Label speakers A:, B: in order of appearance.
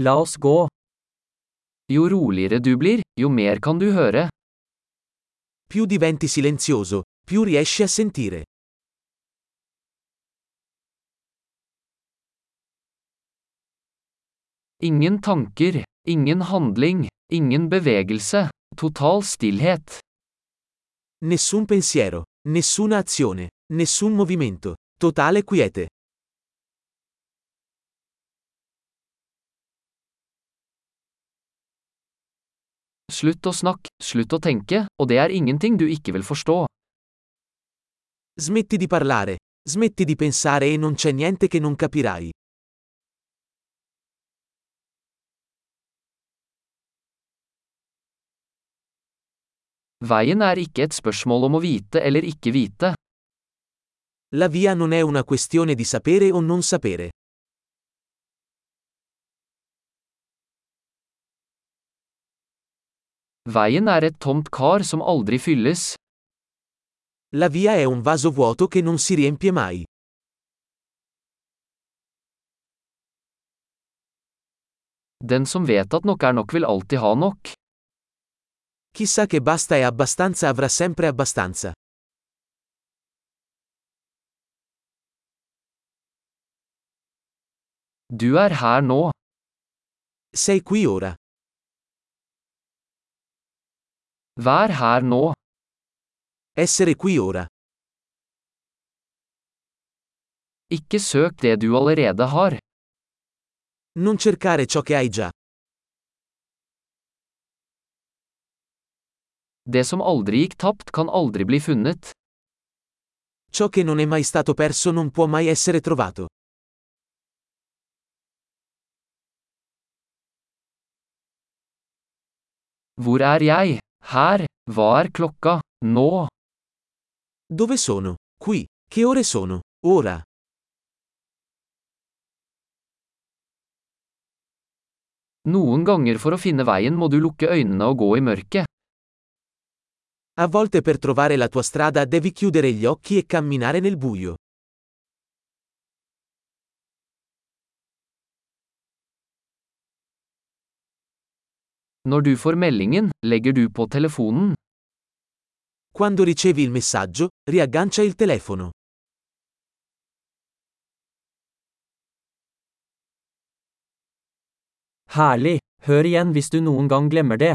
A: La oss gå. Jo roligere du blir, jo mer kan du høre.
B: Più diventi silenzioso, più riesci a sentire.
A: Ingen tanker, ingen handling, ingen bevegelse, total stillhet.
B: Nessun pensiero, nessuna azione, nessun movimento, totale quiete.
A: Slutt å snakke, slutt å tenke, og det er ingenting du ikke vil forstå.
B: Smetti di parlare, smetti di pensare e non c'è niente che non capirai.
A: Veien er ikke et spørsmål om å vite eller ikke vite.
B: La via non è una questione di sapere o non sapere.
A: Veien er et tomt kar som aldri fylles.
B: La via è un vaso vuoto che non si riempie mai.
A: Den som vet at nok er nok vil alltid ha nok.
B: Chissà che basta e abbastanza avrà sempre abbastanza.
A: Du er her nå.
B: Sei qui ora.
A: Vær her nå.
B: Essere qui ora.
A: Ikke søk det du allerede har.
B: Non cercare ciò che hai già.
A: Det som aldri gikk tapt, kan aldri bli funnet.
B: Ciò che non è mai stato perso non può mai essere trovato.
A: Hvor er jeg? Her. Hva er klokka? Nå.
B: Dove sono? Qui. Che ore sono? Ora.
A: Noen ganger for å finne veien må du lukke øynene og gå i mørket.
B: A volte per trovare la tua strada devi chiudere gli occhi e camminare nel buio.
A: Når du får meldingen, legger du på telefonen.
B: Quando ricevi il messaggio, riaggancia il telefono.
A: Herlig! Hør igjen hvis du noen gang glemmer det.